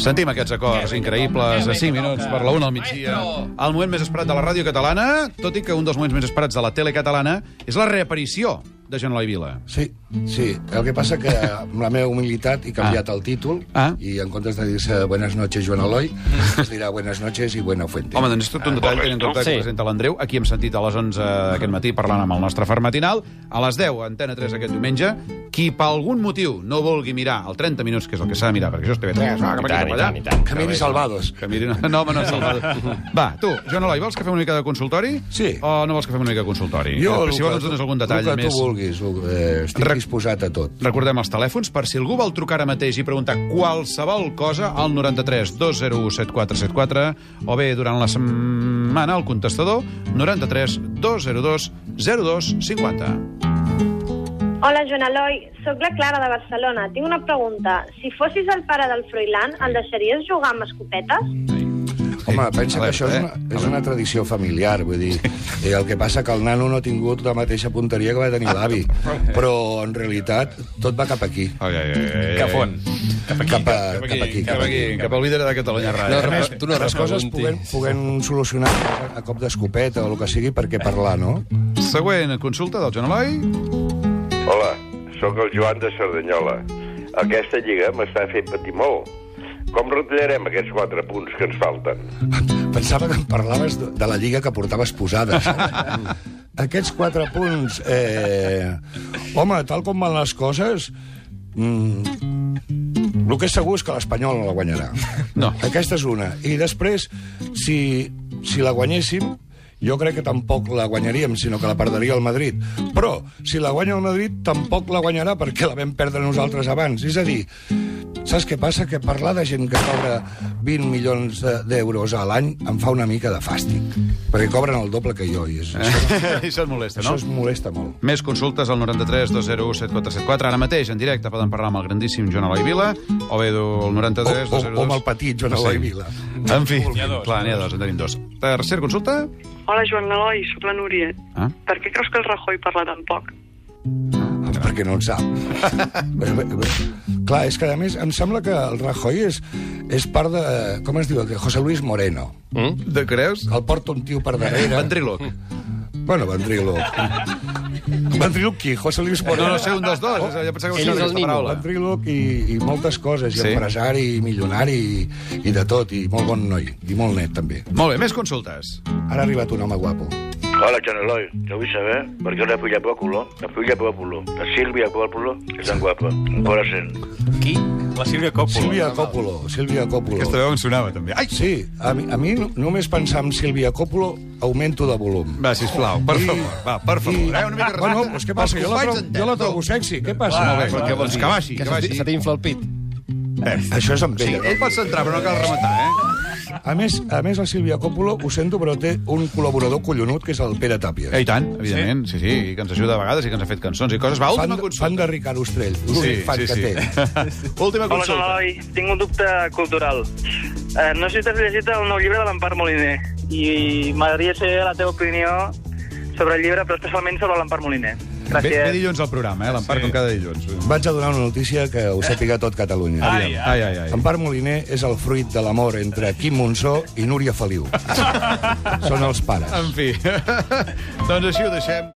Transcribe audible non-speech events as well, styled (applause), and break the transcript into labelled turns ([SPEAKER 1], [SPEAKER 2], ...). [SPEAKER 1] Sentim aquests acords increïbles de 5 minuts per la 1 al migdia. El moment més esperat de la ràdio catalana, tot i que un dels moments més esperats de la tele catalana és la reaparició de Genolai Vila.
[SPEAKER 2] Sí, sí. El que passa que amb la meva humilitat he canviat el títol
[SPEAKER 1] Ah.
[SPEAKER 2] i en comptes de dir-se Buenas noches, Joan Eloi, es dirà Buenas noches i Buena Fuente.
[SPEAKER 1] Home, doncs és tot un detall tenint en compte sí. que presenta l'Andreu. Aquí hem sentit a les 11 d'aquest matí parlant amb el nostre far matinal. A les 10, a Antena 3 aquest diumenge. Qui per algun motiu no vulgui mirar el 30 minuts, que és el que s'ha de mirar, perquè això és TV3, va, cap aquí, cap allà.
[SPEAKER 2] Camini Salvados.
[SPEAKER 1] Que mirin... No, home, no, Salvador. Va, tu, Joan Eloi, vols que fem una mica de consultori?
[SPEAKER 2] Sí.
[SPEAKER 1] O no vols que fem una mica de consultori?
[SPEAKER 2] el
[SPEAKER 1] Després, si
[SPEAKER 2] que
[SPEAKER 1] vols, ens dones algun detall
[SPEAKER 2] el que
[SPEAKER 1] més.
[SPEAKER 2] tu vulguis. el- Eh, estic
[SPEAKER 1] Re-
[SPEAKER 2] disposat a tot.
[SPEAKER 1] Recordem els telèfons, per si algú vol trucar ara mateix i preguntar qualsevol cosa al 93 201 7474 o bé durant la setmana al contestador 93 202 0250.
[SPEAKER 3] Hola, Joan Eloi. Soc la Clara de Barcelona. Tinc una pregunta. Si fossis el pare del Froilán, el deixaries jugar amb escopetes?
[SPEAKER 2] Home, pensa que
[SPEAKER 1] Alerta,
[SPEAKER 2] això és
[SPEAKER 1] eh?
[SPEAKER 2] una, és una tradició familiar, vull dir, eh, el que passa que el nano no ha tingut la mateixa punteria que va tenir l'avi,
[SPEAKER 1] Ah,
[SPEAKER 2] però en realitat tot va cap aquí.
[SPEAKER 1] Ai, ai, ai, ai.
[SPEAKER 4] Que fon.
[SPEAKER 2] Cap, a, cap, aquí, cap aquí,
[SPEAKER 1] cap aquí, cap al líder de Catalunya
[SPEAKER 2] No,
[SPEAKER 1] Ràdio.
[SPEAKER 2] res,
[SPEAKER 4] tu no
[SPEAKER 2] les coses
[SPEAKER 4] repreguntis.
[SPEAKER 2] puguen, puguen solucionar a cop d'escopeta o el que sigui perquè parlar, no?
[SPEAKER 1] Següent consulta del Joan Eloi.
[SPEAKER 5] Hola, sóc el Joan de Cerdanyola. Aquesta lliga m'està fent patir molt. Com retallarem aquests quatre punts que ens falten?
[SPEAKER 2] (laughs) Pensava que em parlaves de de la lliga que portaves posada. saps? (laughs) Aquests quatre punts... Eh... Home, tal com van les coses... Mm... El que és segur és que l'Espanyol no la guanyarà.
[SPEAKER 1] No.
[SPEAKER 2] Aquesta és una. I després, si, si la guanyéssim, jo crec que tampoc la guanyaríem, sinó que la perdria el Madrid. Però, si la guanya el Madrid, tampoc la guanyarà perquè la vam perdre nosaltres abans. És a dir, Saps què passa? Que parlar de gent que cobra 20 milions de- d'euros a l'any em fa una mica de fàstic, perquè cobren el doble que jo, i és, això,
[SPEAKER 1] (laughs) Això et molesta,
[SPEAKER 2] això
[SPEAKER 1] Eh? no?
[SPEAKER 2] es molesta molt.
[SPEAKER 1] Més consultes al 93 201 7474. Ara mateix, en directe, poden parlar amb el grandíssim Joan Eloi Vila o bé del 93
[SPEAKER 2] O- o-
[SPEAKER 1] 202...
[SPEAKER 2] o amb el petit Joan Eloi Vila.
[SPEAKER 1] En fi,
[SPEAKER 4] ha dos.
[SPEAKER 1] clar, n'hi ha dos, en tenim dos. Tercer consulta?
[SPEAKER 6] Hola, Joan Eloi, sóc la Núria.
[SPEAKER 1] Ah.
[SPEAKER 6] Per què creus que el Rajoy parla tan poc?
[SPEAKER 2] perquè no en sap. Bé, bé, bé. Clar, és que a més em sembla que el Rajoy és, és part de... Com es diu? aquest? José Luis Moreno.
[SPEAKER 1] De creus?
[SPEAKER 2] El porta un tio per darrere.
[SPEAKER 1] Ventríloc.
[SPEAKER 2] Bueno, Vendrilo. Vendrilo qui? José Luis
[SPEAKER 1] No,
[SPEAKER 2] Moreno.
[SPEAKER 1] no sé, un dels dos. Oh. Jo pensava que era
[SPEAKER 4] Ell és el
[SPEAKER 1] aquesta
[SPEAKER 4] Nino.
[SPEAKER 1] paraula.
[SPEAKER 2] Ventríloc i, i moltes coses, i
[SPEAKER 1] Sí.
[SPEAKER 2] sí. empresari, i milionari, i, i de tot, i molt bon noi, i molt net, també.
[SPEAKER 1] Molt bé, més consultes.
[SPEAKER 2] Ara ha arribat un home guapo.
[SPEAKER 7] Hola, Joan Eloi. Jo vull saber per què la filla Pòpulo, la filla Pòpulo, la Sílvia Pòpulo, és tan guapa. Un corazón.
[SPEAKER 4] Qui? La Sílvia Coppola.
[SPEAKER 2] Sílvia Còpolo, Sílvia Còpolo.
[SPEAKER 1] Aquesta veu em sonava, també. Ai!
[SPEAKER 2] Sí, a mi, a mi no- només pensar en Sílvia Còpolo augmento de volum.
[SPEAKER 1] Va, sisplau, per
[SPEAKER 2] I-
[SPEAKER 1] favor. Va, per favor. Eh, una mica de
[SPEAKER 2] Bueno,
[SPEAKER 1] respecte.
[SPEAKER 2] doncs què passa?
[SPEAKER 1] Els
[SPEAKER 2] Jo la,
[SPEAKER 1] companys en
[SPEAKER 2] trobo, jo la
[SPEAKER 1] tenen,
[SPEAKER 2] trobo
[SPEAKER 1] tu.
[SPEAKER 2] sexy. Ah, Què passa?
[SPEAKER 1] Molt bé, però què vols? Que baixi,
[SPEAKER 4] Que
[SPEAKER 1] que
[SPEAKER 4] se, se
[SPEAKER 1] baixi.
[SPEAKER 4] t'infla el pit.
[SPEAKER 2] Això és en
[SPEAKER 1] Sí,
[SPEAKER 2] Pere.
[SPEAKER 1] ell pot centrar, però no cal rematar, eh?
[SPEAKER 2] A més, a més, la Sílvia Còpolo, ho sento, però té un col·laborador collonut, que és el Pere Tàpies.
[SPEAKER 1] Eh, I tant, evidentment, sí, sí, i que ens ajuda a vegades i que ens ha fet cançons i coses. Va,
[SPEAKER 2] fan,
[SPEAKER 1] última
[SPEAKER 2] fan
[SPEAKER 1] consulta.
[SPEAKER 2] de Ricard Ostrell, l'únic sí, fan sí, que sí. té.
[SPEAKER 1] (laughs) última
[SPEAKER 6] Hola, Joan
[SPEAKER 1] consulta.
[SPEAKER 6] Eloi, tinc un dubte cultural. Eh, no sé si t'has llegit el nou llibre de l'Empar Moliner i m'agradaria saber la teva opinió sobre el llibre, però especialment sobre l'Empar Moliner.
[SPEAKER 1] Ve, ve
[SPEAKER 6] Gràcies.
[SPEAKER 1] dilluns al programa, eh? L'Empar, sí. com cada dilluns.
[SPEAKER 2] Vaig a donar una notícia que ho sàpiga tot Catalunya.
[SPEAKER 1] Ai, ai, ai. ai.
[SPEAKER 2] Empar Moliner és el fruit de l'amor entre Quim Monzó i Núria Feliu. Són els pares.
[SPEAKER 1] En fi, (laughs) doncs així ho deixem.